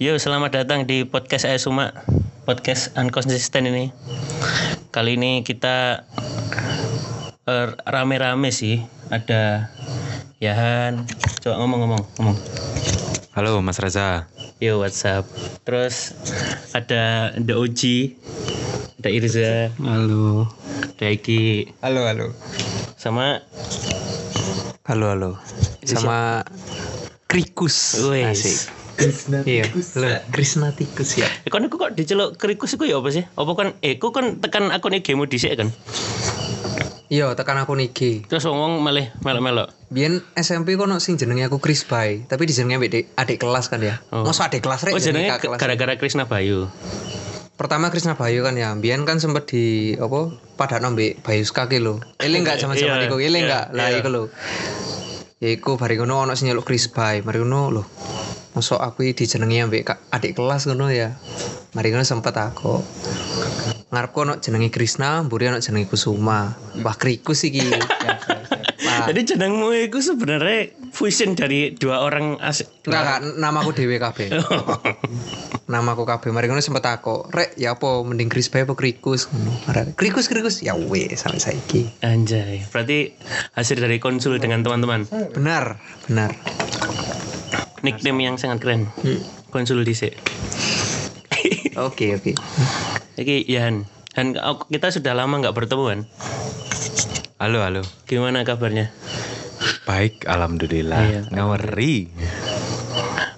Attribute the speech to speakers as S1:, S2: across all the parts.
S1: Yo, selamat datang di podcast saya Suma, podcast unconsistent ini. Kali ini kita eh, rame-rame sih, ada Yahan. Coba ngomong-ngomong, ngomong.
S2: Halo Mas Reza.
S1: Yo, WhatsApp. Terus ada The OG, ada Irza,
S2: Halo.
S1: ada Iki,
S3: Halo, halo.
S1: sama
S2: Halo halo. Sama Krikus.
S1: Wes.
S3: Krishna
S2: Iya. Lo Krishna Tikus ya.
S1: Eh, Kon aku kok diceluk krikus iku ya apa sih? Apa kon eh ku kon tekan akun IG-mu dhisik kan?
S2: Iya, tekan aku IG.
S1: Terus wong malah melok-melok.
S2: Biyen SMP kono sing jenenge aku Kris Bay, tapi dijenenge adik, adik kelas kan ya.
S1: Oh.
S2: Masa adik kelas rek
S1: Oh jenenge
S2: kakak kelas.
S1: gara-gara Krisna Bayu.
S2: Pertama Krisna Bayu kan ya. Biyen kan sempet di apa? Pada nombe Bayu Skaki lo. Eling enggak
S1: Iya,
S2: zaman-zaman iku? Eling
S1: iya,
S2: enggak? Lah iku lho. Ya iku bari ngono ono sing nyeluk Kris Bay. Mari ngono lho. Masa aku iki dijenengi ambek kak- adik kelas ngono ya. Mari ngono sempet aku. Ngarepku ono jenenge Krisna, mburi ono jenenge Kusuma. Wah, krikus iki. Wah,
S1: Jadi jenengmu itu sebenarnya fusion dari dua orang asik.
S2: enggak kak, namaku dhewe kabeh. namaku kabeh mari ngono sempet aku rek ya apa mending Chris Bay apa Krikus ngono Mari, Krikus Krikus ya weh sampai saiki
S1: Anjay, berarti hasil dari konsul dengan teman-teman.
S2: benar benar
S1: Nickname yang sangat keren.
S2: Hmm.
S1: Konsul dhisik.
S2: oke oke
S1: Iki Yan. Han, aku- kita sudah lama nggak bertemu kan?
S3: Halo, halo.
S1: Gimana kabarnya?
S3: Baik, alhamdulillah.
S1: Iya.
S3: Ngawari.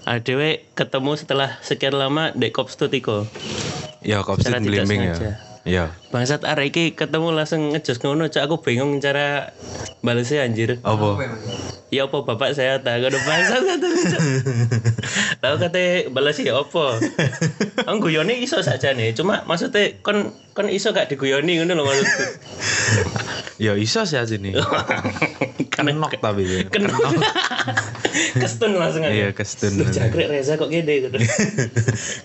S1: Adewe Ah, ketemu setelah sekian lama dek Kopstu Tiko.
S3: Ya, kok bisa
S1: Secara tidak
S3: blimbing ya.
S1: sengaja.
S3: Iya.
S1: Bangsat arek iki ketemu langsung ngejos ngono, cak aku bingung cara balesnya anjir.
S3: Apa?
S1: Ya apa bapak saya tak ada bahasa kata Tahu kata balas ya apa? Ang guyone iso saja nih. Cuma maksudnya kon kon iso gak diguyoni ngono lho maksudku.
S3: Ya iso sih aja nih. Kenok tapi ya.
S1: Kena. Kestun langsung aja.
S3: Iya, kestun.
S1: Loh, jangkrik Reza kok gede gitu.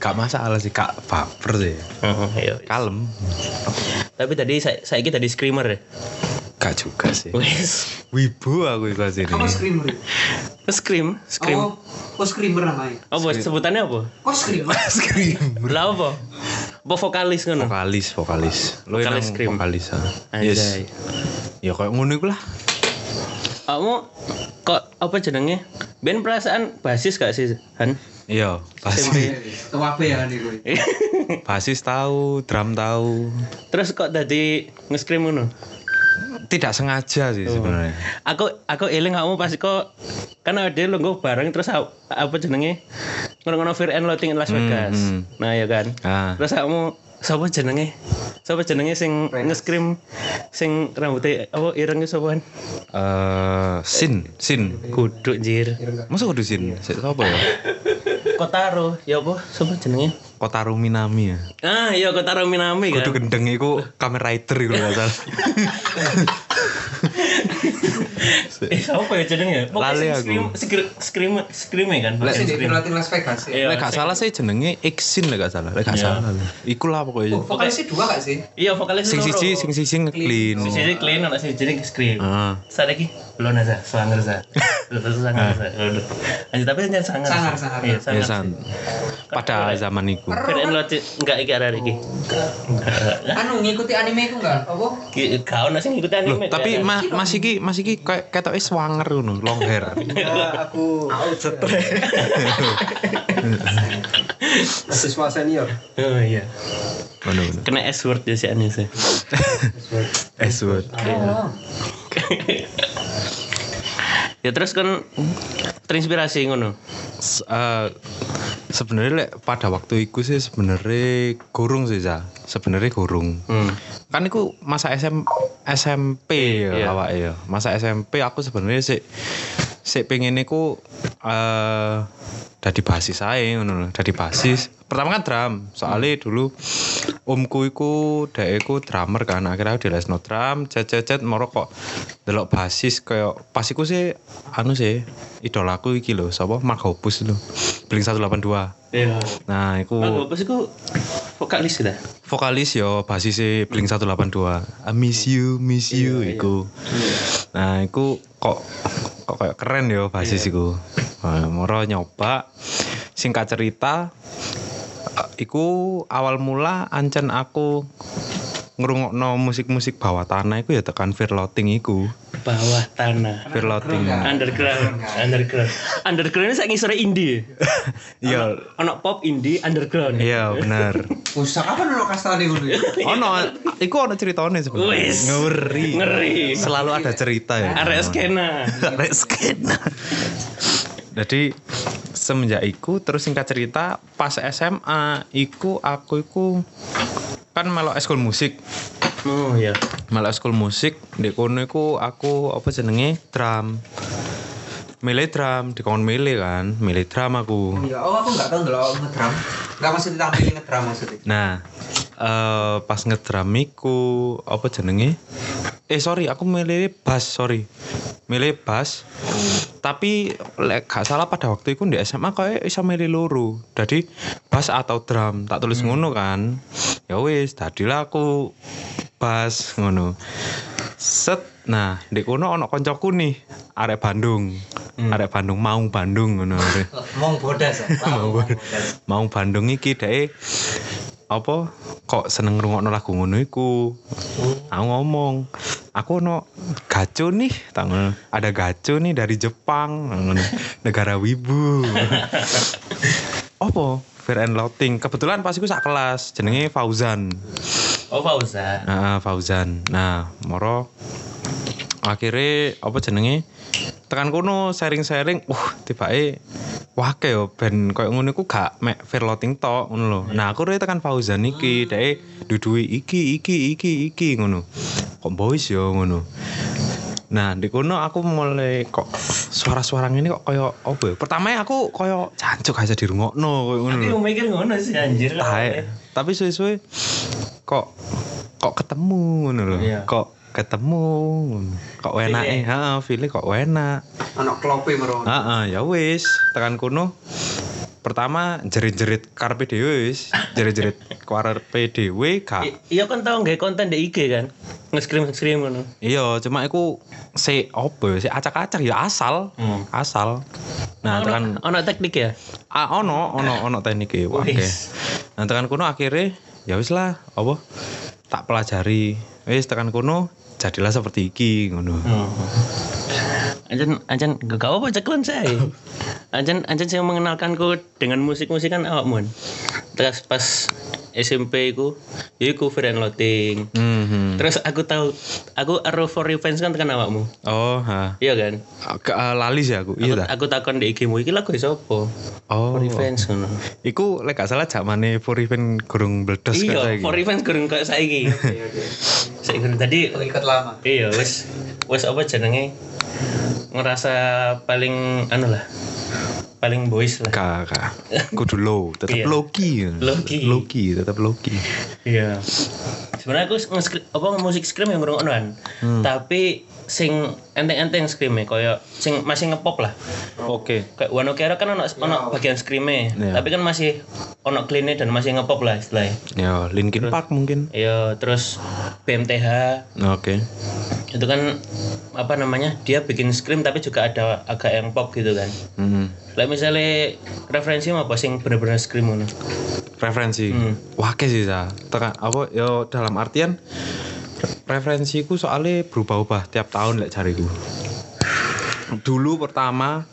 S3: Gak masalah sih, Kak. Baper sih.
S1: Oh, ayo.
S3: Kalem.
S1: Tapi tadi saya saya tadi screamer ya.
S3: Gak juga sih.
S1: Wes.
S3: Wibu aku iku sini.
S2: screamer
S1: Scream,
S2: Oh.
S1: scream.
S2: kok screamer namanya
S1: Apa sebutannya apa?
S2: kok screamer
S3: Scream.
S1: Lah apa? Apa vokalis ngono?
S3: Vokalis, vokalis. Lo
S1: Vokalis
S3: yang
S1: scream.
S3: vokalis. ah.
S1: Anjay.
S3: Yes. Ya kayak ngono iku lah.
S1: Kamu kok apa jenenge? Ben perasaan basis gak sih, Han?
S3: Iya, basis,
S1: SMP.
S2: apa ya nih
S3: basis tahu, drum tahu.
S1: Terus kok tadi nge-scream ngono?
S3: Tidak
S1: Oh.
S3: sengaja sih sebenarnya.
S1: Aku aku eling kamu pas kok kan ada lu nggo bareng terus a- apa jenenge? Ngono-ngono Fear and Loathing in Las Vegas.
S3: hmm.
S1: Nah, ya kan.
S3: Ah.
S1: Terus kamu sapa jenenge? Sapa jenenge sing nge-scream sing rambutnya apa ireng iku sapa? Han?
S3: Eh, sin, sin.
S1: Kuduk jir.
S3: Masa kudu sin? Sik sapa ya?
S1: Kotaro, ya apa? Sapa jenenge?
S3: Kotaro Minami ya.
S1: Ah, iya Kotaro Minami kan.
S3: Kudu gendeng iku kamen rider iku gak salah.
S1: Eh, siapa ya jenengnya?
S3: Lali
S1: Pokoknya
S3: aku.
S1: scream, scream, scream, scream ya kan?
S2: Lek sing
S1: Scream.
S2: dilatih Las Vegas ya
S1: Iya,
S3: Lek gak salah sih jenenge Exin lek gak salah. Lek gak
S1: Iya. Oh,
S3: salah. Iku lah pokoknya.
S2: vokalisnya dua gak sih
S1: Iya, vokalis
S3: Sing
S1: loro.
S3: siji sing siji ngeklin.
S1: oh, Sing siji clean, anak sing siji scream.
S3: Ah.
S1: Saat lagi, belum aja, sangar aja. Terus sangar aja. Ah, Aduh. Anjir, tapi jangan sangar.
S2: Sangar, sangar.
S1: Iya,
S3: Ya
S1: sangar.
S3: san. Pada zaman iku.
S1: Keren lo, Cik. enggak iki arek iki.
S2: anu ngikuti anime itu enggak apa
S1: Ki- Kau nasi ngikutin
S3: Loh,
S1: anime. ya?
S3: tapi
S1: kayaknya.
S3: ma Mas iki Mas iki kayak ketoke swanger ngono, long hair.
S4: Ya, aku aku Siswa senior.
S1: Oh iya.
S3: Ngono ngono.
S1: Kena S word ya si Anis. ya.
S3: S word.
S2: Oh.
S1: Ya terus kan terinspirasi ngono.
S3: S- eh, sebenarnya lek pada waktu iku sih sebenarnya gurung sih Za. Sebenarnya gurung.
S1: Hmm.
S3: kan iku masa SM, SMP ya
S1: Iya.
S3: awake ya. Masa SMP aku sebenarnya sik sik pengen iku eh dadi basis ae ngono lho, dadi basis. Pertama kan drum, soalnya dulu omku iku dhek iku drummer kan akhirnya aku dilesno drum, cet cet cet moro kok delok basis kayak pas iku sih anu sih idolaku iki lho, sapa Mark Hoppus lho. Blink 182.
S1: Iya.
S3: Nah, iku
S1: Aku pas aku vokalis dah.
S3: vokalis yo basis e Blink 182. I miss you, miss
S1: Iya,
S3: you iku. Nah, iku kok
S1: Iya.
S3: kok kayak keren yo basis iku. Nah, moro nyoba singkat cerita iku awal mula ancen aku ngrungokno musik-musik bawah tanah iku ya tekan Firloting iku.
S1: bawah tanah
S3: Firloting.
S1: underground underground underground ini saya ngisore indie
S3: Iya,
S1: anak pop indie underground
S3: iya bener.
S2: Usah kapan lo kasih nih dulu ya?
S3: Ono, iku ono ceritanya sebenarnya.
S1: Wis.
S3: Ngeri.
S1: ngeri
S3: Selalu ada cerita ya.
S1: arek skena
S3: Arek skena. Jadi semenjak iku terus singkat cerita pas SMA iku aku iku kan melok eskul musik.
S1: oh iya
S3: Melok eskul musik di kono iku aku apa jenenge drum. Milih drum, di kon milih kan, milih drum aku.
S2: Iya, oh aku nggak tahu kalau ngedram. Nggak maksudnya tampilin ngedram maksudnya.
S3: Nah, eh pas ngedramiku apa jenenge? Eh sorry, aku milih bass, sorry. Milih bass. Tapi lek gak salah pada waktu itu di SMA kayak bisa milih loro. Jadi bass atau drum, tak tulis ngono kan. Ya wis, tadilah aku bass ngono. Set. Nah, di kono ono koncoku nih, arek Bandung. Arek Bandung mau Bandung ngono.
S2: Mau Oh, bodas. ya? Mau bodas.
S3: mau Bandung iki dhek apa kok seneng ngrungokno lagu ngono iku. Aku ngomong, aku ono gaco nih, tangan ada gaco nih dari Jepang, ngono. negara wibu. Apa? Fair and Louting. Kebetulan pas iku sak kelas, jenenge Fauzan.
S1: oh pausa
S3: Nah, Fauzan. Nah, moro akhirnya apa jenenge? Tekan kono sharing-sharing, uh tibake wake yo ben koyo ngono iku gak mek verloting tok ngono lho. Nah, aku re tekan Fauzan iki, dhek dudui iki iki iki iki ngono. Kok boys yo ngono. Nah, di kono aku mulai kok suara-suara ini kok koyo apa ya? Pertama aku koyo jancuk aja dirungokno koyo ngono.
S1: tapi
S3: lho.
S1: mau mikir ngono sih anjir
S3: Tae. Tapi suwe-suwe kok kok ketemu ngono lho.
S1: Iya. ya?
S3: Kok ketemu ngono. kok enake heeh feeling kok enak
S2: Anak klope meron.
S3: heeh ya wis tekan kuno pertama jerit-jerit karepe dhewe wis jerit-jerit karepe dhewe gak
S1: I- iya kan tau nggak konten di IG kan nge-scream nge-scream ngono
S3: iya cuma aku si opo si acak-acak ya asal
S1: Hmm.
S3: asal nah
S1: Ono-
S3: tekan
S1: ono teknik ya
S3: Ah, ono, ono, ono teknik e. Wah, oke.
S1: Wis.
S3: Nah, tekan kuno akhirnya ya wis lah, apa? Tak pelajari. Wis tekan kuno jadilah seperti iki ngono.
S1: Hmm. Anjan, anjan, gak gak apa ceklon saya. Anjan, anjan saya mengenalkanku dengan musik-musik kan awak mun. Terus pas SMP ku, ya ku Feren Loting.
S3: Mhm.
S1: Terus aku tahu, aku Arrow for Revenge kan tekan awakmu,
S3: Oh, ha.
S1: iya kan?
S3: Agak eh, lali sih aku. Iya
S1: Aku,
S3: ta.
S1: aku takon di IG-mu, iki lagu sopo?
S3: Oh.
S1: For Revenge ngono.
S3: Iku lek gak salah zamane Puriven gurung bledos
S1: Iya,
S3: kata
S1: For
S3: iki.
S1: Revenge gurung kok saiki. Saiki gurung tadi
S2: Ikut lama.
S1: iya wis wis apa jenenge ngerasa paling anu lah paling boys lah
S3: Gak, gak. Kudu low, tetep
S1: Iya.
S3: low key.
S1: Low key.
S3: Low key, tetep low key.
S1: Iya. Sebenarnya aku nge apa musik scream yang ngrungokno kan.
S3: Hmm.
S1: Tapi sing enteng-enteng scream koyo sing masih ngepop lah.
S3: Oke.
S1: Kayak Wano Kero kan ono ono bagian scream
S3: Iya.
S1: tapi kan masih ono clean dan masih ngepop lah istilahnya.
S3: Ya, Linkin Park mungkin.
S1: Iya, terus BMTH
S3: Oke.
S1: itu kan apa namanya? Dia bikin scream tapi juga ada agak yang pop gitu kan.
S3: Mhm.
S1: Lah misalnya referensi apa sing bener-bener scream ngono.
S3: referensi wake sih sa tekan apa yo dalam artian referensiku soalnya berubah-ubah tiap tahun lek cariku dulu pertama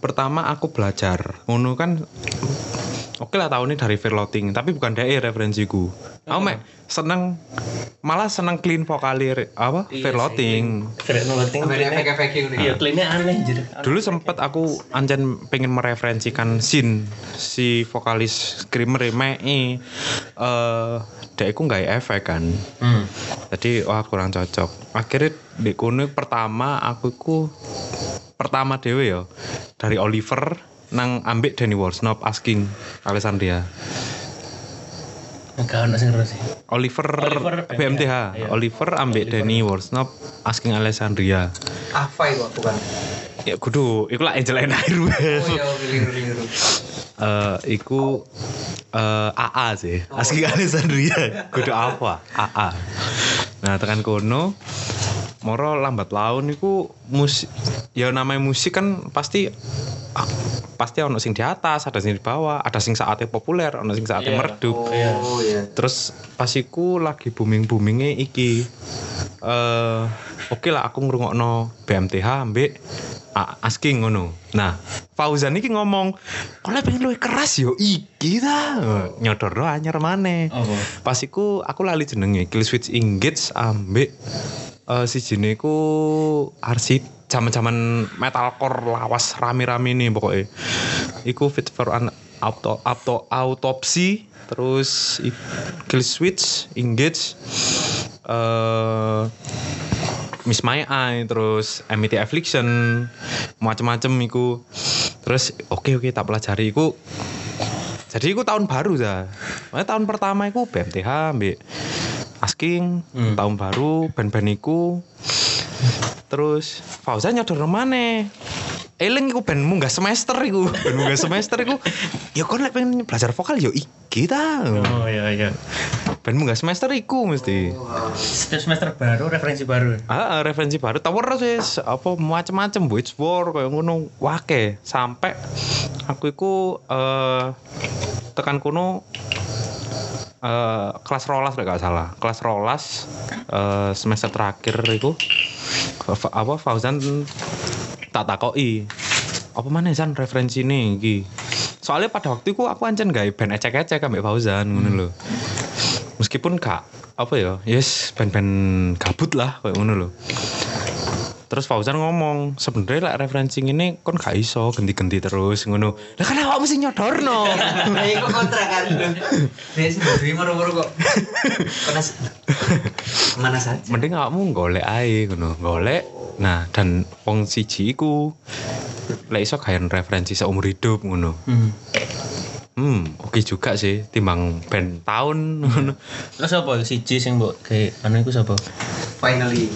S3: pertama aku belajar ngono kan oke lah tahunnya dari verloting tapi bukan dari referensiku aku mek seneng malah seneng clean vokalir apa verloting
S1: Keren banget
S2: Sampai ada efek-efek ini.
S1: Iya, cleannya aneh anjir.
S3: dulu sempet aku anjan pengen mereferensikan Sin si vokalis screamer Mae eh dia iku nggak efek kan
S1: Hmm.
S3: jadi wah kurang cocok akhirnya di kono pertama aku ku pertama dewe ya dari Oliver nang ambek Danny Warsnop asking Alessandria
S1: Enggak ono sing ngerti sih.
S3: Oliver,
S1: Oliver BMTH.
S3: BMTH
S1: Iya.
S3: Oliver ambek Danny Warsnop asking Alessandria
S2: Apa itu aku kan?
S3: ya kudu iku lah Angel and Iron
S2: Oh ya, keliru-keliru.
S3: eh iku eh AA sih. Asli
S4: Oh.
S3: Alessandria. Kudu apa? AA. Nah, tekan kono moro lambat laun iku musik ya namanya musik kan pasti ah, pasti ono sing di atas, ada sing di bawah, ada sing saatnya populer, ono sing
S1: Iya.
S3: saatnya merdu.
S4: Oh iya.
S3: Terus pas iku lagi booming-boomingnya iki. Eh, oke lah aku ngrungokno BMTH ambek A- asking ngono. Nah, Fauzan iki ngomong, "Kole pengen luwih keras yo iki ta." Nyodorno anyar maneh.
S1: Apa?
S3: Pas iku aku lali jenenge Kill Switch Engage ambek eh si ku RC zaman-zaman metalcore lawas rame-rame nih pokoknya iku fit for an auto, auto autopsi terus i- kill switch engage eh Miss My Eye terus MIT Affliction macem-macem iku terus oke oke tak pelajari iku jadi iku tahun baru ya Makanya tahun pertama iku BMTH mbek asking tahun baru band-band iku terus Fauzan nyodor mana Eling iku bandmu gak semester iku bandmu gak semester iku ya kon lek pengen belajar vokal yo iki ta
S1: Oh iya iya.
S3: bandmu gak semester iku mesti
S1: Setiap semester baru referensi baru.
S3: Ah, ah, referensi baru tower terus wis apa macem-macem Witch War kayak ngono wake sampai aku iku eh tekan kuno eh kelas rolas lek gak salah kelas rolas eh semester terakhir iku Fa- apa Fauzan tak takoki apa mana Zan referensi nih iki soalnya pada waktu itu aku ancen gak band ecek-ecek ambek Fauzan ngono lho meskipun gak apa ya yes band-band gabut lah kayak ngono lho terus Fauzan ngomong sebenarnya lah referensi ini kon gak iso ganti-ganti terus ngono lah kan awak mesti nyodorno
S2: Nah, itu kontra kan.
S4: ya?
S2: Dia sih duwe moro-moro kok. Kena s- kemana saja?
S3: mending awakmu golek ae ngono golek nah dan wong siji iku lek iso gayen referensi seumur hidup ngono
S1: Hmm.
S3: hmm oke juga sih timbang band tahun ngono
S1: Terus apa siji sing mbok kayak anu iku sapa?
S4: Finally.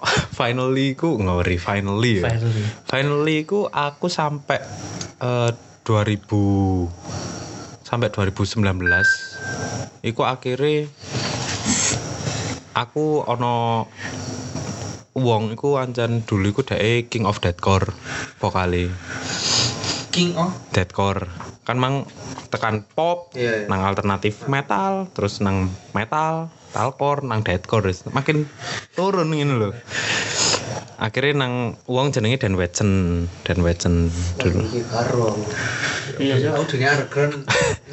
S3: finally ku ngori finally ya.
S1: Finally.
S3: finally ku aku sampai eh, 2000 sampai 2019 iku akhirnya aku ono wong iku ancen dulu iku dhek King of Deadcore vokale
S2: King of
S3: deadcore kan mang tekan pop
S4: Iya, iya.
S3: nang alternatif metal terus nang metal metalcore nang deadcore terus makin turun ngene lho akhirnya nang uang jenenge Dan Wetsen Dan Wetsen dulu
S4: Ini karo.
S1: Iya, iya.
S4: Aku dunia underground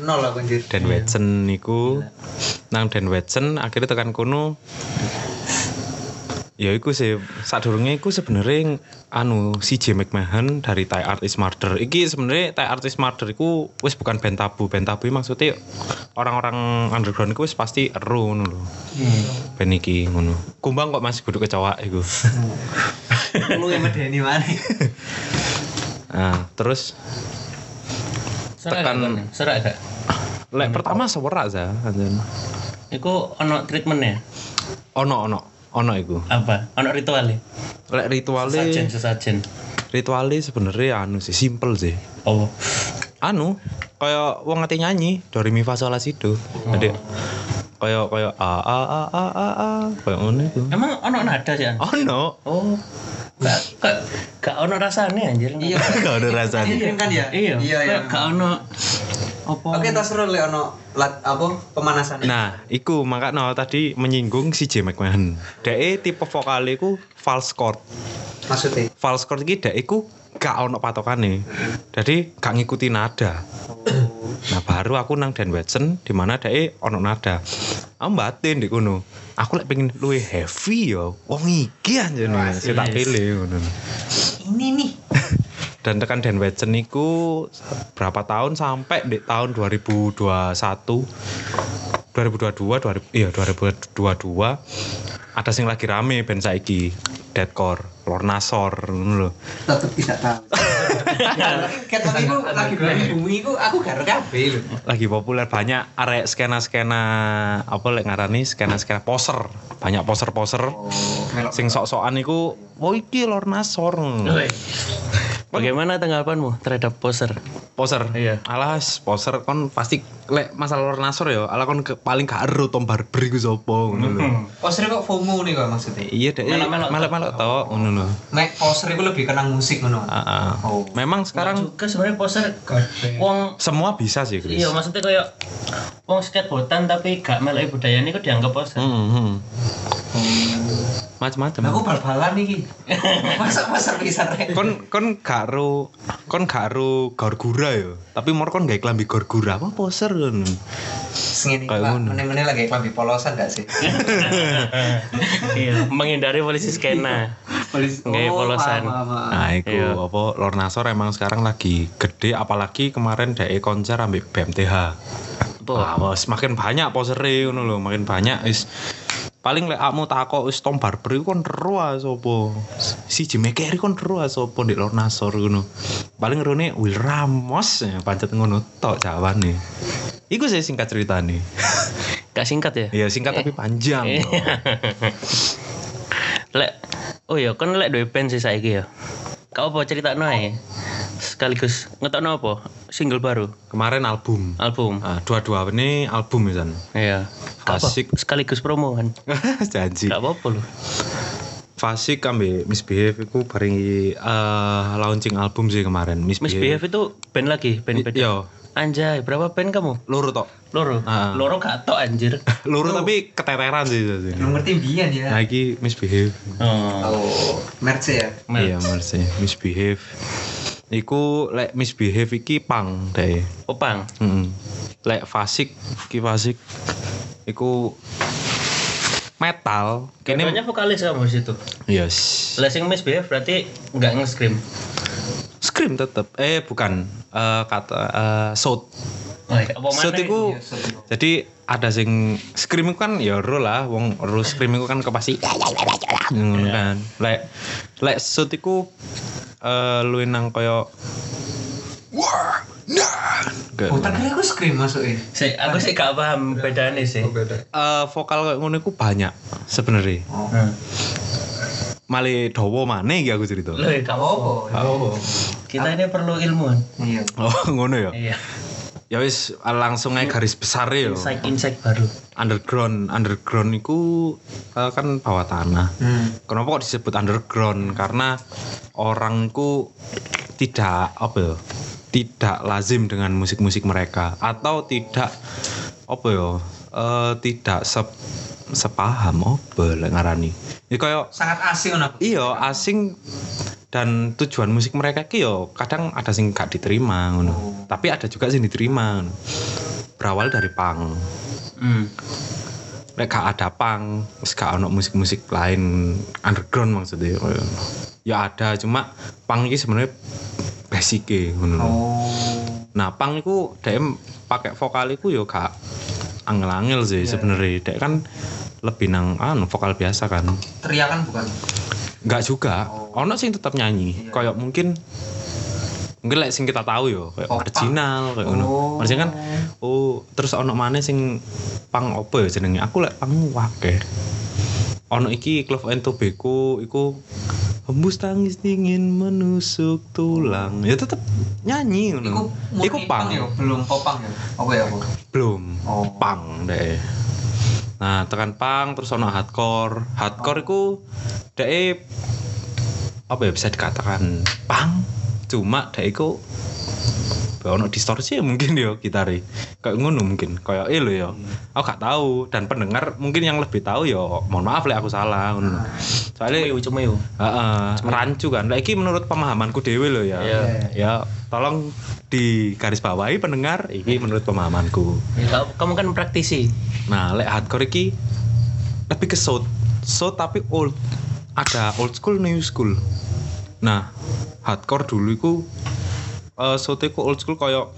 S4: nol aku anjir.
S3: Dan Wetsen niku nang Dan Wetsen akhirnya tekan kono ya iku sih sadurunge iku sebenarnya anu si J McMahon dari Thai Artist Murder iki sebenarnya Thai Artist Murder iku wis bukan band tabu band tabu maksudnya orang-orang underground iku wis pasti eru ngono lho band iki ngono kumbang kok masih kudu kecoa iku
S2: lu yang medeni mana?
S3: nah terus
S1: Serak
S3: Tekan-
S1: gak, Kon? serak gak?
S3: lek pertama sewerak za anjen.
S1: Iku ono treatmentnya
S3: ono ono ono iku
S1: apa? Ono ritualnya?
S3: lek
S1: Sajen
S3: rituale
S1: sesajen.
S3: rituale sebenarnya anu sih simple sih
S1: Apa?
S3: anu kayak wong ngerti nyanyi dari mi fa sol la si do jadi kayak kayak a a a a a a kayak ngono itu
S1: Emang ono nada sih? An?
S3: oh no
S1: Oh. Gak gak gak ono rasane anjir. Iya.
S3: gak ada rasanya
S4: Ini kan ya?
S1: Iya.
S4: Iya, iya.
S1: Gak ono apa?
S4: Oke, tas seru le ono lat apa pemanasan.
S3: nah iku maka no tadi menyinggung si J McMahon dek tipe vokal iku false chord
S4: Maksudnya
S3: false chord iki dek iku gak ono patokane jadi gak ngikuti nada nah baru aku nang Dan Watson di mana dek e ono nada aku batin di kono aku lek pengen luwe heavy yo wong iki anjir sih tak pilih ngono
S2: Ini nih.
S3: dan tekan Dan Watson niku berapa tahun sampai di tahun 2021 2022 2000, iya 2022 ada sing lagi rame band saiki Deadcore Lornasor ngono lho
S4: tetap tidak tahu.
S2: Ketok iku lagi bumi bumi iku aku gak kabeh lho.
S3: lagi populer banyak arek skena-skena apa lek ngarani skena-skena poser banyak
S1: iya.
S3: poser-poser sing sok-sokan iku oh iki Lornasor
S1: Woi. Bagaimana tanggapanmu terhadap poser?
S3: poser
S1: Iya.
S3: alas poser kon pasti lek masalah lor nasor ya ala kon ke, paling gak ero tom barberi ku sapa ngono lho
S2: Hmm.
S1: Hmm.
S4: Poster Oh, kok FOMO nih kok maksudnya.
S3: iya deh
S1: Melok-melok
S3: melok-melok to ngono lho
S4: Mek poster itu lebih kenang musik ngono.
S3: Ah, ah. memang sekarang
S1: juga sebenarnya poser
S4: Kabeh.
S1: wong
S3: semua bisa sih Chris
S1: iya maksudnya kayak wong skateboardan tapi gak melek budaya ini kok dianggap poser.
S3: Hmm, hmm.
S4: Lah, Aku
S3: macam-macam
S4: bal-balan iki. Masa masa bisa rek.
S3: kon kon gak ero kon gak ero gorgura ya tapi mor kon gak klambi gorgura apa poser ngono
S4: Sing ini
S3: Kayak
S4: Pak,
S3: ngono.
S4: meneh-meneh lagi klambi polosan gak sih?
S1: iya, menghindari polisi skena.
S4: Polis.
S1: Nggak, polosan.
S4: paham, paham, paham.
S3: Nah, iku
S1: Iya.
S3: apa Lor Nasor emang sekarang lagi gede apalagi kemarin dhek e konser ambek BMTH.
S1: Apa?
S3: Ah, Wah, wes makin banyak posere ngono lho, makin banyak is paling lek akmu takok wis Tom Barber iku kon ero ae sapa. Si Jimmy Carey kon ero ae sapa ndek Lor Nasor ngono. Paling rene Will Ramos ya, pancet ngono tok jawane. Iku sih singkat ceritane.
S1: Gak singkat ya?
S3: Iya singkat
S1: Eh.
S3: tapi panjang. loh.
S1: Lek Oh iya, kan lek duwe band sih saiki ya. Kau apa cerita ae? Sekaligus ngetokno apa? Single baru,
S3: Kemarin album.
S1: album.
S3: Ah, dua-dua ini album ya San.
S1: Iya. Gak apa,
S3: Asik.
S1: Sekaligus promo kan.
S3: Janji.
S1: Gak apa-apa loh.
S3: Fasik ambil Misbehave iku bareng eh, launching album sih kemarin Misbehave.
S1: Misbehave itu band lagi, band beda.
S3: Yo,
S1: Anjay, berapa band kamu?
S3: luru tok.
S1: Loro.
S3: Ah.
S1: Loro gak tok anjir.
S3: Luru tapi keteteran sih. sih.
S4: Belum ngerti biyen ya.
S3: Nah, iki Misbehave.
S1: Oh.
S4: Oh, merch ya.
S3: Iya, mersi. Misbehave. Iku lek Misbehave iki pang deh.
S1: Opang.
S3: Mm. Lek Fasik iki Fasik. Iku metal. Kene
S1: Kayaknya vokalis kamu di situ.
S3: yes.
S1: Lah sing misbehave berarti nggak nge-scream.
S3: Scream tetep. Eh bukan Eh, kata eh, sound.
S1: Oh, iya. Apa
S3: Sound
S1: mana?
S3: iku
S4: Iya, sound iku.
S3: jadi ada sing scream iku kan ya ro lah wong ro scream iku kan kepasti ngono kan. Lek lek shoot iku eh luwih nang kaya wah nah Gak-
S4: Oh, tak kira aku scream masukin.
S1: Sik, aku sih gak paham bedanya sih.
S3: Eh, vokal kayak ngono iku banyak sebenarnya.
S4: Oh.
S1: Hmm.
S3: Male dawa maneh iki aku cerita.
S1: Loh, gak apa
S4: Oh, oh.
S1: Kita ini perlu ilmuwan.
S4: Iya.
S3: Oh ngono ya.
S1: Iya.
S3: Ya wis langsung aja garis besar ya.
S1: Insight-insight baru.
S3: Underground, underground iku eh, kan bawah tanah.
S4: Hmm.
S3: kenapa kok disebut underground karena orangku tidak apa ya tidak lazim dengan musik-musik mereka atau tidak apa ya eh, tidak sep- sepaham apa lek ngarani ya kayak
S4: Sangat asing ngono.
S3: iya asing dan tujuan musik mereka ki yo kadang ada sing gak diterima ngono tapi ada juga sing diterima ngono. berawal dari pang
S1: Hmm.
S3: lek gak ada pang, terus gak ono musik-musik lain underground maksudnya. Kaya ngono. Ya ada cuma pang iki sebenarnya basic e ngono.
S4: Oh.
S3: Nah, pang iku dhek pakai vokal iku ya gak angel-angel sih sebenarnya. Dhek kan lebih nang anu vokal biasa kan.
S4: Teriakan bukan.
S3: Hmm. Enggak juga. Ono sing tetap nyanyi.
S4: Oh. Iya.
S3: Kayak mungkin mungkin lek sing kita tahu yo kayak
S4: Popang.
S3: marginal kayak ngono.
S4: Oh.
S3: Marginal kan oh terus ono mana sing pang opo ya jenenge? Aku lek pang wakeh. Ono iki Clove and Tobacco iku hembus tangis dingin menusuk tulang. Ya tetep nyanyi
S4: Iku
S3: ngono.
S4: murni
S3: Iku pang.
S4: ya, belum popang ya. Apa ya, Bu?
S3: Belum.
S4: Oh.
S3: Pang deh. Nah, tekan pang terus ono hardcore. Hardcore iku dek e, apa ya bisa dikatakan pang cuma dek iku ono distorsi ya mungkin ya gitare. Kayak ngono mungkin, kayak eh lho ya.
S1: Hmm.
S3: Aku gak tahu dan pendengar mungkin yang lebih tahu ya mohon maaf lek aku salah ngono. Soalnya
S1: Cuma Ah. cuma yuk.
S3: Heeh, rancu kan. Lah iki menurut pemahamanku dhewe lho ya.
S1: Iya.
S3: Ya, tolong di garis bawahi pendengar
S1: Iya.
S3: iki menurut pemahamanku.
S1: Kamu kan praktisi.
S3: Nah, lek hardcore iki lebih ke sound, sound tapi old. Ada old school, new school. Nah, hardcore dulu iku eh sound iku old school koyo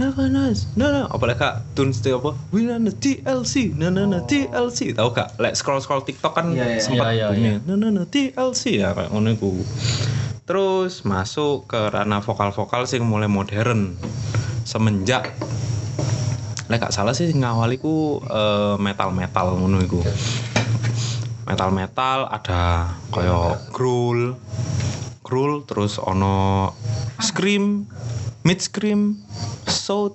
S3: Nah, nah, nah, nah, apa lek kak tunes itu apa? We nana TLC, nah, nah, nah, TLC, tahu gak? Lek scroll scroll TikTok kan
S4: Iya, iya,
S3: sempat
S1: iya, iya,
S3: booming. Nah, nah, nah, TLC ya kayak ngono iku. Terus masuk ke ranah vokal-vokal sing mulai modern semenjak lek gak salah sih ngawali ku eh, metal-metal ngono iku. Metal-metal ada koyo growl, grul terus ono scream mid scream sound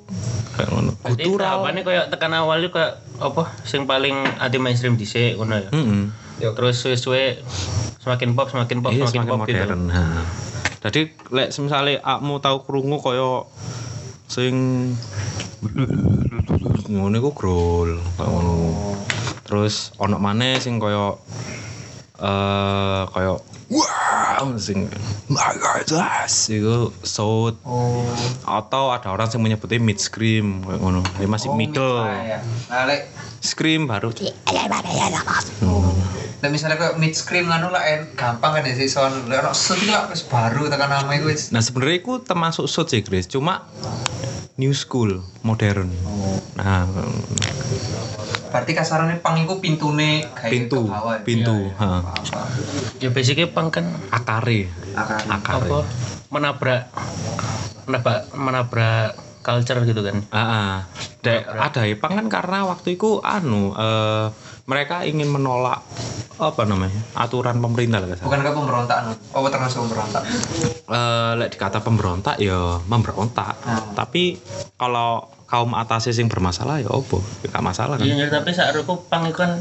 S3: kayak ngono
S1: Berarti
S3: gutural
S1: tahapannya kayak tekan awal itu kayak apa sing paling anti mainstream dhisik ngono ya.
S3: Mm-mm.
S1: Terus suwe-suwe semakin pop, semakin pop, semakin,
S3: Iya, semakin
S1: pop
S3: modern.
S1: gitu.
S3: Ha. Jadi lek misale akmu tau krungu kaya sing ngono iku grol, kaya ngono. Oh. Terus ono maneh sing kaya eh kaya wah sing my god yes," iku sound
S4: Oh.
S3: atau ada orang yang menyebutnya mid scream kayak ngono. Ya masih
S4: Oh,
S3: middle.
S4: mid- ah, ya. Nah, lek
S3: Scream baru
S4: lek misalnya kayak mid screen ngono lah en- gampang kan ya sih soal lek ono set iki lah wis baru tekan nama iku wis.
S3: Nah sebenarnya aku termasuk shoot sih Grace, cuma new school, modern. Nah
S4: Berarti kasarane pang iku pintune gawe
S3: pintu,
S2: gitu,
S4: ke bawah. ya?
S3: pintu, ha.
S4: Apa?
S1: Ya basicnya punk kan
S3: akare,
S4: Akan.
S1: apa
S3: akare.
S1: menabrak menabrak menabrak culture gitu kan.
S3: Ah, ah. Dek, ada Ipang kan karena waktu itu anu eh, mereka ingin menolak apa namanya aturan pemerintah lah kasar.
S4: Bukan ke pemberontakan. Apa Oh, termasuk pemberontak?
S3: Eh, lek dikata pemberontak ya memberontak.
S4: Hmm.
S3: Tapi kalau kaum atasnya sing bermasalah ya opo, gak masalah kan.
S1: Iya, tapi saat aku punk itu kan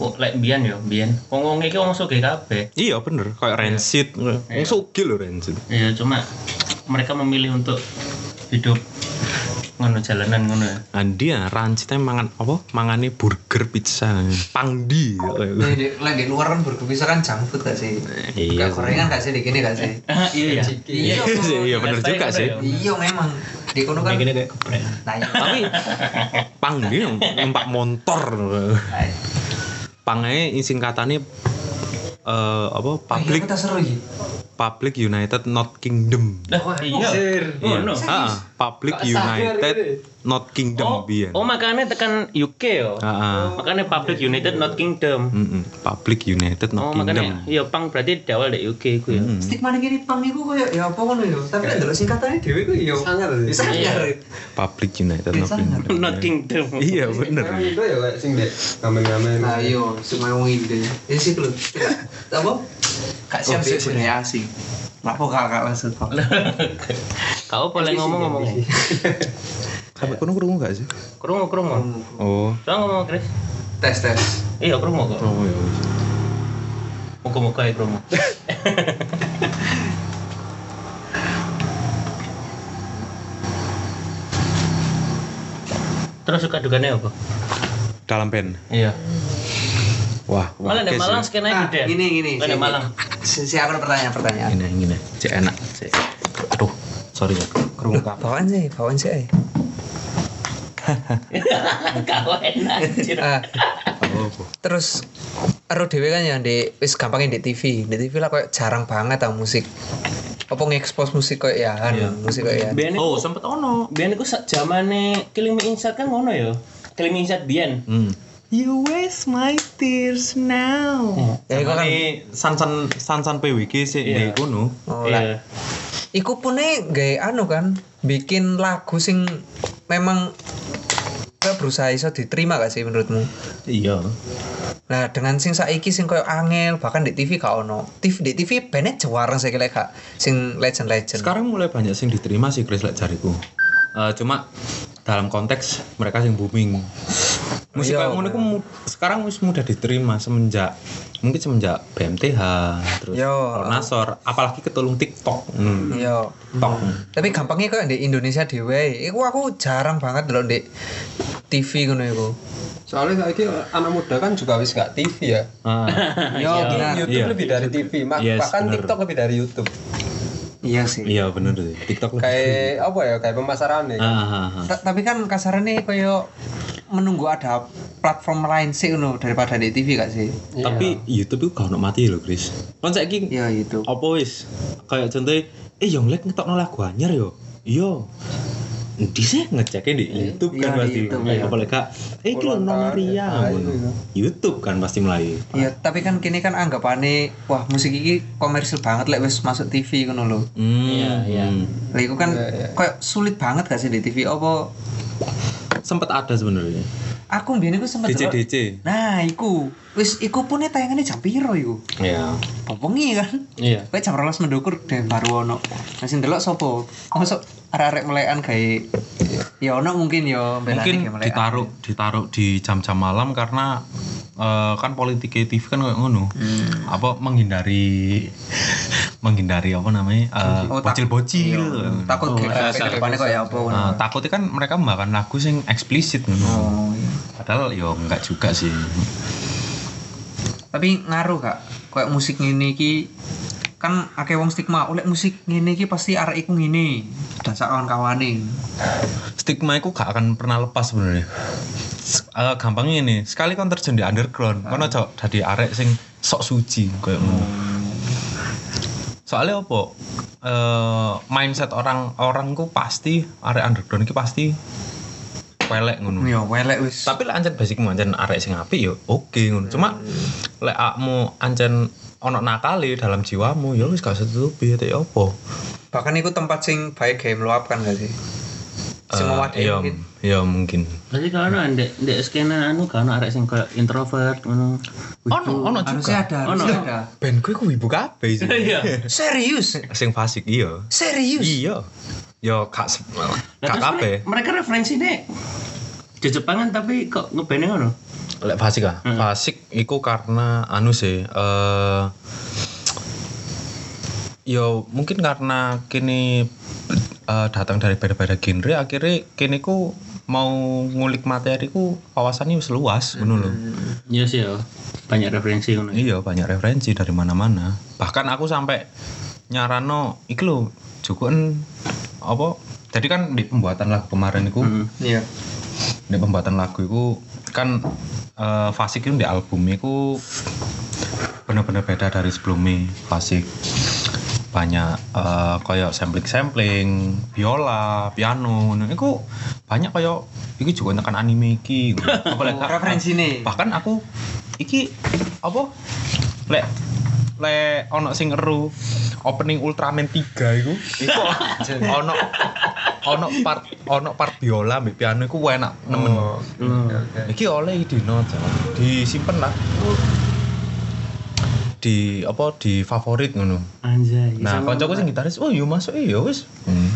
S1: oh, like bian ya, bian. Wong-wong iki wong sugih kabeh.
S3: Iya bener, kayak rancid, yeah. sugil loh rancid.
S1: Iya, cuma mereka memilih untuk hidup ngono jalanan ngono ya.
S3: Andia rancitnya mangan apa? Mangane burger pizza. Pangdi.
S4: Lek di- lek di luar kan burger bisa kan junk food gak sih?
S3: Iya.
S4: Kayak gorengan gak sih di kini gak sih?
S1: Ah, iya ya.
S4: Iya,
S3: sih, Iya bener
S1: Lifestyle
S3: juga
S1: kan
S3: sih.
S1: ya.
S4: Iya memang. Di kono kan.
S1: Gini kayak geprek.
S4: Nah, iya.
S3: Tapi pangdi yang numpak motor.
S4: Nah, iya.
S3: Pangai singkatannya eh apa?
S4: Publik
S3: Public
S4: kita seru gitu.
S3: Public United Not Kingdom.
S1: Lah, iya.
S3: Iya.
S1: Ngono.
S3: Ah, Public United Not
S1: Oh,
S3: Kingdom biyen.
S1: oh makanya tekan UK yo.
S3: Ah, ah.
S1: Makanya Public United Not Kingdom.
S3: Mm-mm. Public United
S1: Oh
S3: iya. Not
S1: makanya
S3: Kingdom.
S1: iya pang berarti di awal dari UK ku ya.
S3: Mm.
S4: Stigma nih kini pang iku koyo ya apa ngono ya. Tapi lek delok singkatannya dhewe ku
S5: Iya.
S4: ya sangar. Sangar.
S3: Public United Not
S4: Bisa.
S3: Kingdom.
S1: Not Kingdom.
S3: Iya bener.
S5: itu ya kayak sing dek ngamen-ngamen
S4: Nah, iya, cuma wong ide. Ya sih lho. Tidak- Apa? Kak siap sih budaya asing. Lapo kakak langsung kok.
S1: Kau boleh ngomong ngomong.
S3: Sampai kono krungu gak sih?
S1: Kerungu kerungu.
S3: Oh.
S1: Coba ngomong Chris.
S4: Tes tes.
S1: Iya kerungu kok.
S3: Oh ya.
S1: Muka muka ya kerungu. Terus suka dukanya apa?
S3: Dalam band.
S1: Iya.
S3: Wah, wah,
S1: Malah di
S3: oke
S1: Malang
S3: sih.
S1: skenanya
S4: Nah,
S1: gede.
S4: gini gini.
S1: Lah, di Malang.
S4: Si si aku ada pertanyaan pertanyaan.
S3: Ini ini cek enak, cek. Aduh, sorry ya. Kerungu kap.
S2: Bawaan sih, bawaan sih. eh.
S1: Kau enak. anjir.
S2: Ah, terus ero dhewe kan ya di wis gampangin di TV. Di TV lah kayak jarang banget tau musik. Apa nge-expose musik kayak ya,
S4: Iya.
S2: musik kayak ya.
S1: Biyen iku-
S3: Oh, sempet ono.
S1: Biyen iku sak zamane Killing Me Inside kan ngono ya. Killing Me Inside biyen.
S3: Hmm.
S5: you waste my tears now
S3: Eh,
S2: Ya iku kan
S3: Ini sansan sansan PWG sih di
S1: Iya.
S3: kono.
S2: oh, lah.
S1: Iya.
S2: Iku pune gaya anu kan bikin lagu sing memang kayak berusaha iso diterima gak sih menurutmu?
S3: Iya.
S2: Nah, dengan sing saiki sing koyo angel bahkan di TV gak ono. TV di TV benet jewareng saya kira gak sing legend-legend.
S3: Sekarang mulai banyak sing diterima sih Chris lek jariku. Eh, cuma dalam konteks mereka yang booming. Musik
S2: Iya,
S3: kayak ngono iku mu- sekarang wis mudah diterima semenjak mungkin semenjak BMTH terus
S2: Iya.
S3: Nasor apalagi ketulung TikTok. Hmm.
S2: Yo.
S3: TikTok.
S2: Iya. Tapi gampangnya kok di Indonesia dhewe. Iku aku jarang banget loh di TV ngono iku.
S5: soalnya saiki anak muda kan juga wis gak TV ya
S3: Ah,
S5: Yo, YouTube
S3: Iya.
S5: lebih dari TV, mak-
S3: Yes,
S5: bahkan
S3: bener.
S5: TikTok lebih dari YouTube.
S2: Iya sih.
S3: iya bener sih. TikTok lebih-
S5: Kayak apa ya? Kayak pemasaran ya.
S3: Ah, ah, ah.
S2: Tapi kan kasarannya koyo menunggu ada platform lain sih ngono daripada di TV gak sih?
S3: Tapi YouTube itu gak ono mati lho, Chris. Kon saiki
S2: Ya itu.
S3: apa wis? Kayak contohnya, eh yang lek ngetokno lagu anyar yo. Iya. Endi sih ngeceknya di YouTube
S2: Iya, Ah,
S3: kan pasti.
S2: di YouTube,
S3: Apalagi Kak, eh iki lho
S5: Ulang
S3: Nona
S5: tahun,
S3: Ria.
S5: ya,
S3: ngono.
S5: ayo.
S3: YouTube kan pasti melayu.
S2: Iya, tapi kan kini kan anggapannya wah musik ini komersil banget lek wis masuk TV ngono lho.
S3: Iya, iya.
S2: Lah iku kan koyo sulit banget gak sih di TV apa
S3: Sempet ada sebenarnya.
S2: aku mbien iku sempet
S3: DC
S2: delok-
S3: DC.
S2: Nah, iku. Wis iku pun tayangannya jam piro iku?
S1: Iya.
S2: Bengi kan.
S1: Iya.
S2: Kayak jam 12 mendukur deh baru ono. Nah, sing delok sapa? Mosok arek-arek melekan gawe ya ono mungkin ya mbelani
S3: Mungkin
S2: gawe melekan.
S3: ditaruh ditaruh di jam-jam malam karena eh, kan politik TV kan kayak ngono.
S2: Hmm.
S3: Apa menghindari menghindari apa namanya? eh,
S2: Oh, tak-
S3: bocil-bocil.
S2: Iya, Takut
S1: Oh,
S2: kayak
S1: salah,
S2: kayak
S1: salah,
S2: depannya
S1: salah,
S2: kayak apa ngono.
S3: Nah, takutnya kan mereka makan lagu sing eksplisit ngono.
S2: Oh, iya.
S3: Padahal yo enggak juga sih.
S2: Tapi ngaruh Kak. Kayak musik ngene iki kan akeh wong stigma oleh musik ngene iki pasti arek iku ngene dan sak kawan-kawane.
S3: Stigma itu gak akan pernah lepas sebenarnya. Eh, gampangnya ini, sekali kon terjun di underground, kon ojo dadi arek sing sok suci kayak ngono. Soalnya apa? Eh, mindset orang-orang ku pasti arek underground iki pasti pelek ngono.
S2: Ya welek wis.
S3: tapi lek ancen basicmu ancen arek sing apik ya oke ngono cuma lek akmu ancen ono nakali dalam jiwamu ya wis gak usah ditutupi ya ya apa
S2: Bahkan iku tempat sing baik gawe meluapkan gak kan, sih? Sing
S3: Eh,
S2: mewadai
S3: iya
S2: mungkin.
S3: iya mungkin
S1: Berarti kalau ono ndek ndek skena anu kalau ono arek sing koyo introvert ngono.
S3: ono ono juga
S2: Harusnya
S3: Oh,
S2: ada,
S1: Ono.
S2: harusnya ada.
S3: ben gue kuwi buka kabeh sih
S1: Iya.
S2: Serius?
S3: sing fasik iya
S2: Serius?
S3: iya yo kak se-
S1: Lah,
S3: kak
S1: terus mere-
S2: ya?
S3: kabeh
S1: mereka referensinya ke Jepangan tapi kok ngeband ngono?
S3: lek fasik ah fasik iku karena anu sih eh yo mungkin karena kini eh, datang dari beda-beda genre akhirnya kini ku mau ngulik materi ku wawasannya wis luas ngono lho.
S1: Iya sih ya. Banyak referensi ngono.
S3: Iya banyak referensi dari mana-mana. Bahkan aku sampai nyarano iki lho Jukuan apa jadi kan di pembuatan lagu kemarin itu
S2: Iya.
S3: di pembuatan lagu itu kan eh, Fasik itu di album itu bener-bener beda dari sebelumnya Fasik banyak eh, kayak sampling-sampling biola piano ngono. itu banyak kayak itu juga tekan anime iki apalagi
S2: Referensi nih.
S3: bahkan aku iki apa lek lek ono sing eru opening Ultraman 3 iku iku ono ono part ono part biola mbek piano iku enak nemen Hmm. iki oleh dino disimpen lah di apa di favorit ngono
S1: Anjay.
S3: nah
S1: sama-
S3: kancaku sing gitaris oh yo masuk iya wis hmm.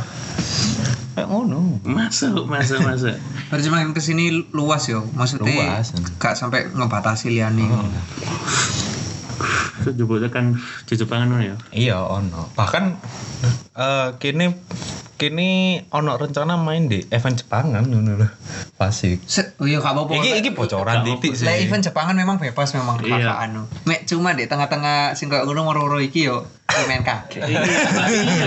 S3: kayak ngono
S1: masuk masuk masuk.
S2: Berarti makin kesini luas yo, maksudnya
S3: Luas. Hmm.
S2: gak sampai ngebatasi liane.
S1: Terus jebule kan Jepangan ngono ya.
S3: Iya ono. Bahkan eh kini kini ono rencana main di event Jepangan ngono lho. Pasik.
S2: Se- oh iya gak apa-apa.
S3: Iki iki bocoran titik
S2: Lah
S3: sih.
S2: event Jepangan memang bebas memang
S1: Iya.
S2: kakak anu. Mek cuma di tengah-tengah sing koyo ngono moro iki yo lumayan kaget.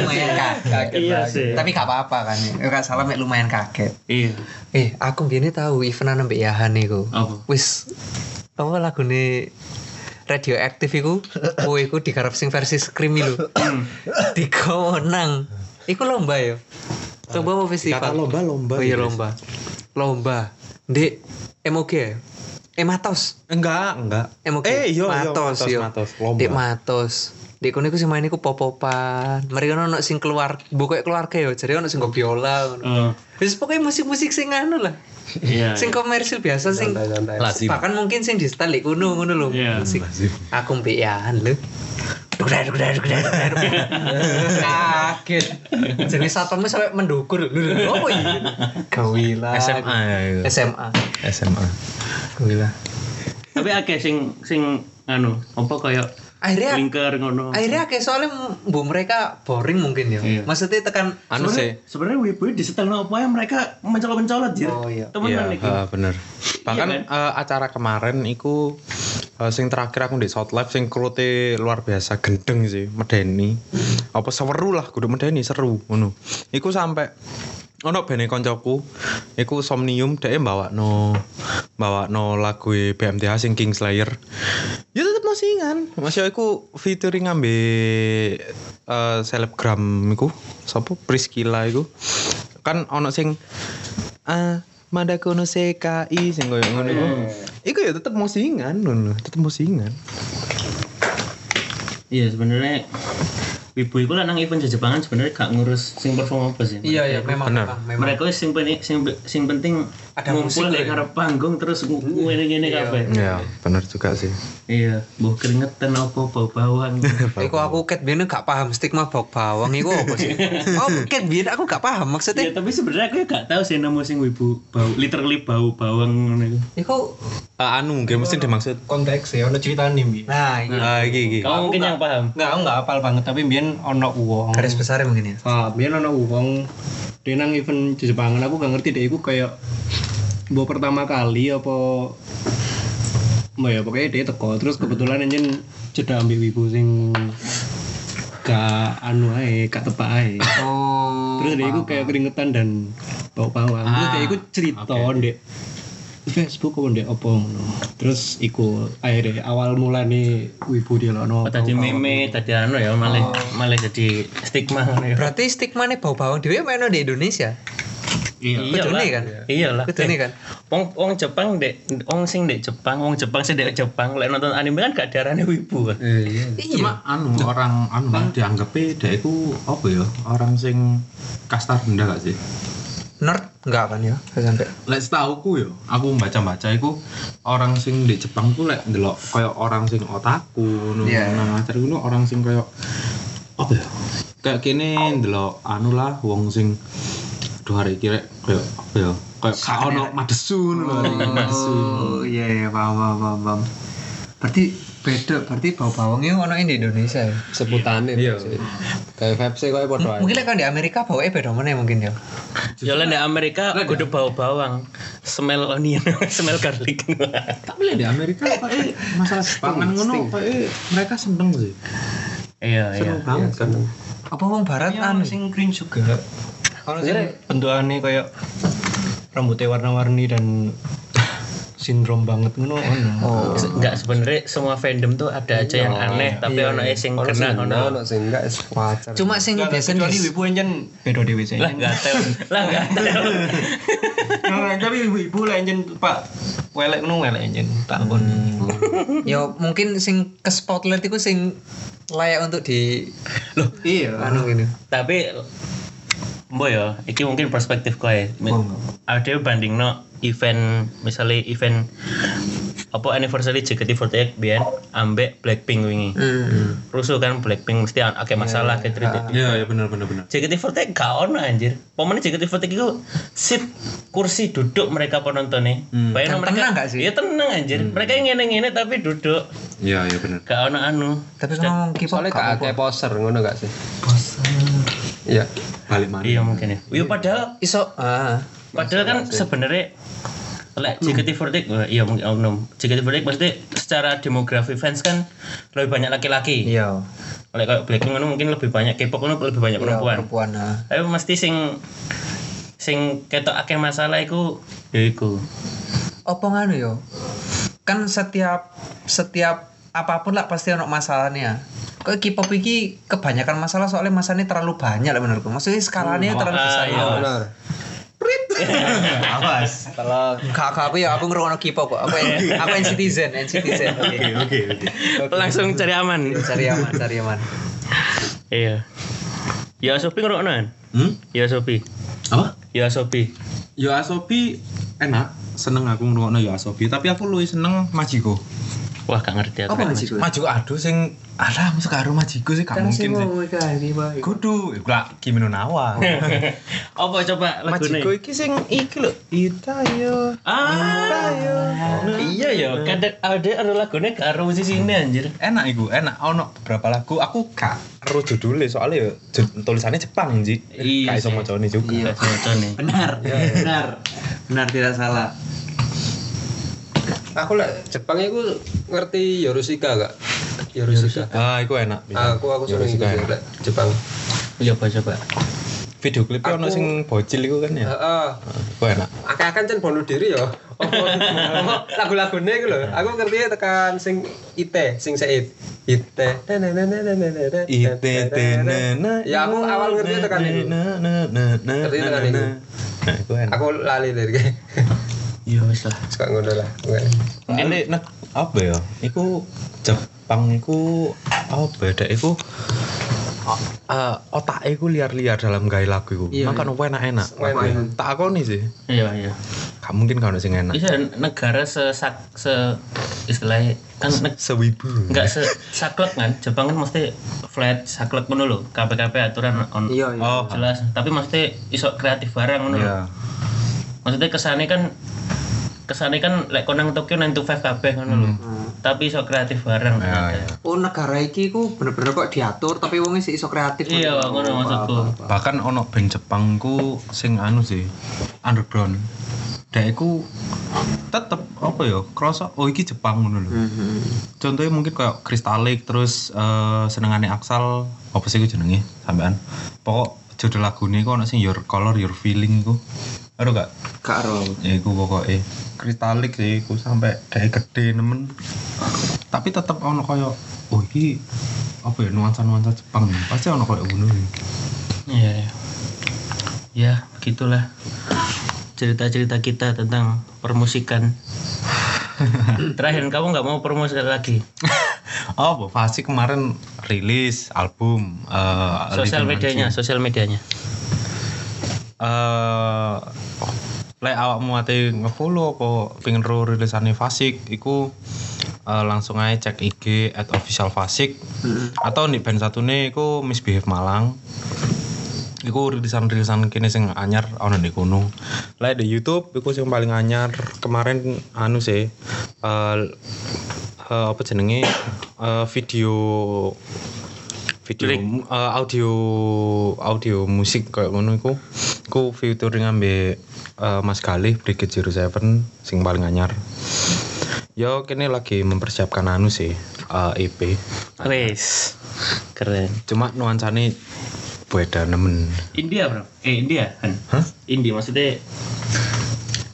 S2: lumayan kaget.
S1: Iya sih.
S2: Tapi gak apa-apa kan. Ya gak salah mek lumayan kaget.
S1: Iya.
S2: Eh, aku biyen tahu event ana mbek Yahan iku.
S1: Apa?
S2: Wis apa lagune radioaktif iku, kowe iku digarap sing versi Scream lho. Tiga menang. Iku lomba ya. Coba mau festival. lomba lomba. Oh
S3: ya,
S2: iya lomba. Lomba. Ndek MOG ya? Eh Matos.
S3: Enggak, enggak.
S2: MOG.
S3: Eh, iya, iya,
S2: Matos,
S3: Matos,
S2: yo.
S3: Matos. Lomba.
S2: Ndek Matos. Ndek kono iku sing main iku pop-popan. Mereka ono sing keluar, buka keluarga ya. Jadi ono sing go biola ngono.
S1: Eh,
S3: Hmm.
S2: Wis pokoknya musik-musik sing anu lah.
S1: Iya.
S2: Sing komersil biasa sing
S3: Lazim.
S2: bahkan mungkin sing di style kuno ngono lho.
S1: Iya.
S2: Musik. Aku mbiyan lho. Dugdar dugdar dugdar. dugdar. Kaget. Jadi satpamnya sampai mendukur lho. lho, Apa iki? Gawila.
S3: SMA ya. iya.
S2: SMA.
S3: SMA.
S2: Gawila.
S1: Tapi akeh sing sing anu apa kaya
S2: Akhirnya
S1: linker ngono.
S2: Iya. akhirnya kayak soalnya bu mereka boring mungkin ya.
S1: Iya.
S2: Maksudnya tekan
S3: Anu sih.
S1: Sebenarnya wibu di setelno apa ya mereka mencolot-mencolot jir.
S2: Oh, iya.
S1: Temenan
S3: Iya,
S1: iki.
S3: ha, bener. Bahkan eh, acara kemarin iku eh, sing terakhir aku di South Live sing krute luar biasa gendeng sih, medeni. Apa seru lah, kudu medeni seru ngono. Iku sampai ono bene koncoku, iku Somnium dhek mbawakno mbawakno lagu e BMTH sing Kingslayer. Ya tetep masingan. Masih aku featuring ambe eh, selebgram iku sapa Priscilla iku. Kan ono sing ah Madako no Sekai sing koyo ngono iku. Iku ya tetep musingan ngono, tetep musingan.
S1: Iya sebenarnya Wibu iku lanang iku Jejebangan sebenarnya gak ngurus sing perform apa sih.
S2: iya iya memang
S3: Bener.
S2: memang, memang.
S1: Mereka wis sing penting sing, sing penting
S2: Ada
S1: ngumpul
S2: musik lho
S1: nek
S2: ya.
S1: ngarep panggung terus ngene-ngene
S2: Iya.
S1: kabeh.
S3: Iya, bener juga sih.
S1: Iya, mbuh keringetan apa bau bawang.
S2: Iku aku ket biyen gak paham stigma bau bawang iku apa sih? Oh, ket biyen aku gak paham
S1: ya
S2: maksudnya.
S1: tapi sebenarnya aku gak tahu sih nemu sing wibu bau literally bau bawang ngono iku.
S2: Iku
S3: Ah, anu, nggih mesti dimaksud.
S4: konteks ya ono ceritane mbi.
S2: nah, iki
S3: Ah, iki iki.
S1: Kamu mungkin yang
S6: Nah,
S1: paham.
S4: Enggak, aku enggak hafal banget tapi mbiyen ono wong.
S2: garis besarnya mungkin ya.
S4: Ah, biyen ono wong dia nang event di Jepangan aku gak ngerti deh iku kayak mbok pertama kali apa Mbak ya pokoknya dia teko terus kebetulan anjen jeda ambil wibu sing gak anu ae, gak tepak ae.
S2: Oh.
S4: Terus dia iku kayak keringetan dan bau bawang. Terus dia iku cerita ndek Facebook apa ndek apa ngono. Terus iku akhirnya awal mulane wibu dia lono.
S1: Tadi meme, tadi anu ya
S2: Oh.
S1: malah malah jadi stigma ngono ya.
S2: Berarti stigma nih bau bawang dhewe main di Indonesia.
S1: Iyalah.
S2: Bedone kan?
S1: Iyalah.
S2: Bedone kan?
S1: Wong wong Jepang dek, wong sing dek Jepang, wong Jepang sing dek Jepang, lek nonton anime kan gak diarani wibu kan.
S5: Eh,
S6: iya.
S2: Iya.
S6: Cuma anu orang anu kan dianggapnya dia itu apa ya? Orang sing kasta rendah gak sih?
S2: Nerd enggak kan ya? Gak Sampai.
S6: Lek setauku yo, aku baca-baca iku orang sing di Jepang ku lek ndelok kaya orang sing otaku ngono
S2: Iya.
S6: nah macar ngono orang sing kaya apa ya? Kayak kene ndelok anu lah wong sing aduh hari iki rek kaya apa ya? Kayak gak ono madesu ngono lho, hari iki, madesu.
S2: Oh, iya iya paham paham paham, paham. Berarti beda, berarti bau bawangnya ono di Indonesia ya.
S3: Sebutane. Iya. Kayak vibes e koyo padha ae.
S2: Mungkin lek kan di Amerika baunya beda mana mungkin ya.
S1: Ya lah di Amerika kudu bau bawang, smell onion, smell garlic.
S6: Tapi lek di Amerika kok eh masalah pangan ngono kok eh mereka seneng sih.
S1: Iya iya.
S6: Seneng banget kan.
S2: Apa wong barat anu sih?
S4: sing green juga. Ono sing bentukannya kayak rambutnya warna-warni dan sindrom banget ngono ono.
S2: Oh.
S1: Se- Enggak sebenarnya semua fandom tuh ada aja yang aneh, tapi ono yang sing kena ono.
S3: sing enggak es wajar.
S2: Cuma sing biasa
S4: Kecuali
S2: di
S4: wibu anjen beda dhewe sih.
S1: Lah enggak tahu. Lah enggak tahu.
S4: Nah, tapi ibu-ibu lah anjen Pak welek ngono welek anjen tak kon.
S2: ya mungkin sing ke spotlight itu sing layak untuk di
S4: Iya.
S2: anu gini.
S1: tapi Mbok ya, iki mungkin perspektif kowe. Ada banding no event misalnya event apa anniversary JKT48 biyen ambek Blackpink wingi.
S2: Hmm.
S1: Rusuh kan Blackpink mesti akeh masalah kayak yeah.
S6: Iya, iya bener bener bener.
S1: JKT48 gak ono anjir. Pemain JKT48 itu sit kursi duduk mereka penontonnya.
S6: Hmm.
S1: Bayangno
S2: Dan tenang gak sih?
S1: Iya tenang anjir. Mereka ngene-ngene tapi duduk.
S6: Iya, iya Hmm. bener.
S1: Gak ono anu.
S2: Tapi kan ngomong K-pop
S3: Soalnya gak
S2: gak
S3: akeh
S2: apa-apa.
S3: poser ngono gak sih? Poser. Iya.
S6: Balik mana?
S1: Iya mungkin ya. Iya padahal
S2: iso ah.
S1: Padahal kan sebenarnya lek JKT48 wah, iya mungkin oknum. JKT48 pasti secara demografi fans kan lebih banyak laki-laki.
S2: Iya.
S1: Lek kayak Blackpink ngono mungkin lebih banyak K-pop ngono lebih banyak perempuan.
S2: Perempuan ah.
S1: Tapi mesti sing sing ketok akeh masalah iku ya iku.
S2: Apa nganu yo? Kan setiap setiap apapun lah pasti ono masalahnya. Kok K-pop iki kebanyakan masalah soalnya masalahnya terlalu banyak lah menurutku. Maksudnya skalanya terlalu
S1: ah,
S2: besar.
S1: iya,
S2: Oh.
S1: Mas.
S3: Bener.
S2: Awas.
S3: Kalau
S2: Enggak, enggak, aku ya aku ngerungokno K-pop kok. Aku aku NCTzen, NCTzen. Oke.
S6: Oke, oke.
S1: Langsung cari aman.
S2: Cari aman, cari aman.
S1: iya. Ya Sopi ngerokno.
S6: Hmm?
S1: Ya Sopi.
S6: Apa?
S1: Ya Sopi.
S6: Yo Asobi enak, seneng aku ngrungokno Yo Asobi, tapi aku luwih seneng Majiko.
S1: Wah gak ngerti aku.
S2: Majiko?
S6: Majiko aduh sing alah mesti karo Majiko sih gak mungkin sih.
S2: oh
S6: Kudu, gak Kimi no Nawa.
S1: Apa coba lagune?
S3: Majiko iki sing iki lho, Itayo.
S1: Ah, iya ya. anu Kadang ada ada lagunya karo musisinya anjir.
S6: enak iku, enak ono beberapa lagu aku gak
S3: Ero judule soalnya ya je- tulisannya Jepang, Ji.
S1: Iya
S3: Gak iso
S1: sih.
S3: macane juga.
S1: Iya, cocok nih.
S2: Benar, benar. Iya, Benar tidak salah.
S7: aku lah Jepang itu ngerti Yorosika gak? Yorosika.
S3: Ah, iku enak.
S7: Aku aku seneng itu
S3: Yorosika.
S7: Lek, Jepang.
S1: Coba coba.
S3: Video klipnya ono sing bocil iku kan ya.
S7: Heeh.
S6: Eh.
S3: Ah, Iku enak.
S7: Akeh-akehan kan bunuh diri ya. Lagu-lagune iku lho. Aku ngerti tekan sing Ite, sing Seit. Ite. Ya aku awal ngerti tekan itu.
S3: kan, Ngerti kan,
S7: Ngerti tekan iku.
S3: Nah, iku enak.
S7: Aku lali liriknya.
S1: Iya wis lah.
S7: Suka ngono lah. Bukan.
S3: Mungkin nek apa ya? Iku Jepang iku apa beda iku ya, eh otak iku liar-liar dalam gawe lagu iku.
S4: Iya,
S3: Makan enak-enak.
S7: Enak.
S3: Tak akoni sih.
S1: iya iya
S3: Gak mungkin gak ono sing enak.
S1: bisa negara sesak se istilahnya kan neg-
S3: Sewibu.
S1: nggak se saklek kan Jepang kan mesti flat saklek ngono lho KPKP aturan on
S2: iya iya
S3: Oh,
S1: jelas tapi mesti iso kreatif barang ngono lho
S3: iya.
S1: maksudnya kesannya kan kesannya kan lek konang Tokyo 9 to 5 kabeh ngono lho tapi iso kreatif bareng
S3: Iya,
S1: ternyata.
S3: iya.
S2: oh negara iki ku bener-bener kok diatur tapi wongnya sih iso kreatif
S1: iya ngono maksudku
S3: Bahkan ono band Jepang ku sing anu sih underground. Dek iku tetep apa ya? Krosok oh iki Jepang ngono lho.
S2: Mhm.
S3: Contohnya mungkin kayak kristalik terus eh, senengane Aksal apa sih iku jenenge sampean. Pokok judul lagune iku ono sing your color your feeling iku. Aduh gak?
S2: gak ero
S3: ya iku pokoknya kristalik sih iku sampai dari gede nemen tapi tetep ono koyo oh iki apa ya nuansa-nuansa Jepang pasti ono koyo ngono iki.
S1: iya iya ya begitulah cerita-cerita kita tentang permusikan terakhir kamu nggak mau promosi lagi
S3: oh Bu Fasi kemarin rilis album eh,
S1: sosial
S3: Living
S1: medianya
S3: Mansion.
S1: sosial medianya
S3: eh lek awakmu ate ngefollow apa pengen ro rilisane Fasik iku eh, langsung aja cek IG at official Fasik atau di band satune iku Misbehave Malang iku rilisan-rilisan kene sing anyar ana di kono lek di YouTube iku sing paling anyar kemarin anu sih eh eh, apa jenenge Eh, video video
S1: Lirik.
S3: mu- eh, audio audio musik kayak ngono iku ku featuring ambek eh, Mas Galih Brigit Zero Seven sing paling anyar Yo, kini lagi mempersiapkan anu sih eh, EP.
S1: Wes. Keren.
S3: Cuma nuansane beda nemen.
S1: India, Bro. Eh, India kan.
S3: Hah?
S1: India maksudnya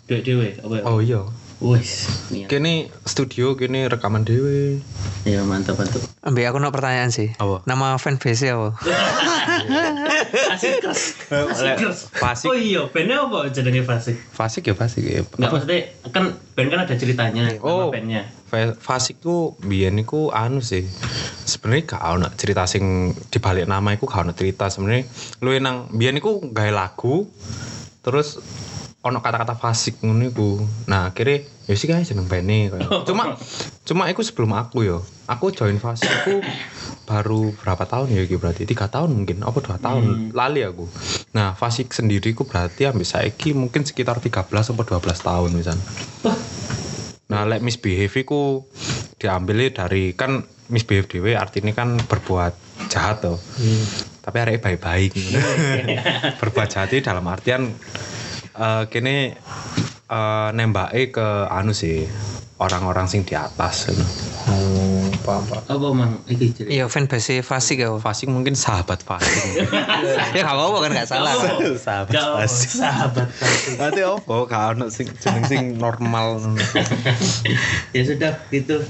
S1: duit dewe apa ya?
S3: Oh iya.
S1: Wes. Niat.
S3: Kini studio kini rekaman dewe.
S1: Ya mantap mantap.
S2: Mbak aku nak pertanyaan sih
S3: Apa?
S2: nama fanbase apa
S1: Asik keras. Asik keras.
S3: Fasik.
S1: Oh iya, bandnya apa jenenge Fasik?
S3: Fasik ya fasik ya.
S1: Enggak maksudnya kan band kan ada ceritanya
S3: Oh.
S1: sama bandnya.
S3: Fa- Fasik ku biyen iku anu sih. Sebenarnya gak ono cerita sing dibalik nama iku gak ono cerita sebenarnya. Lu nang biyen iku gawe lagu terus ono kata-kata fasik ngono iku. Nah, akhirnya ya sih guys jeneng bene kayak. gitu. Cuma cuma iku sebelum aku yo. Aku join fasik iku baru berapa tahun ya iki berarti? tiga tahun mungkin apa dua tahun lali aku. Nah, fasik sendiri ku berarti ambil saiki mungkin sekitar 13 atau 12 tahun misalnya. Nah, lek misbehave iku diambilnya dari kan misbehave dhewe artinya kan berbuat jahat tuh. Tapi arek baik-baik. berbuat jahat itu dalam artian eh kene eh nembake ke anu sih orang-orang sing di atas. gitu.
S1: Apa mang iki cerita?
S2: iya fanbase fasik ya
S3: Fasik mungkin sahabat fasik.
S2: ya gak apa-apa kan gak salah
S3: sahabat
S1: Enggak apa,
S3: fasik.
S1: sahabat.
S3: Nanti opo gak ono sing jeneng sing normal.
S1: Ya sudah gitu.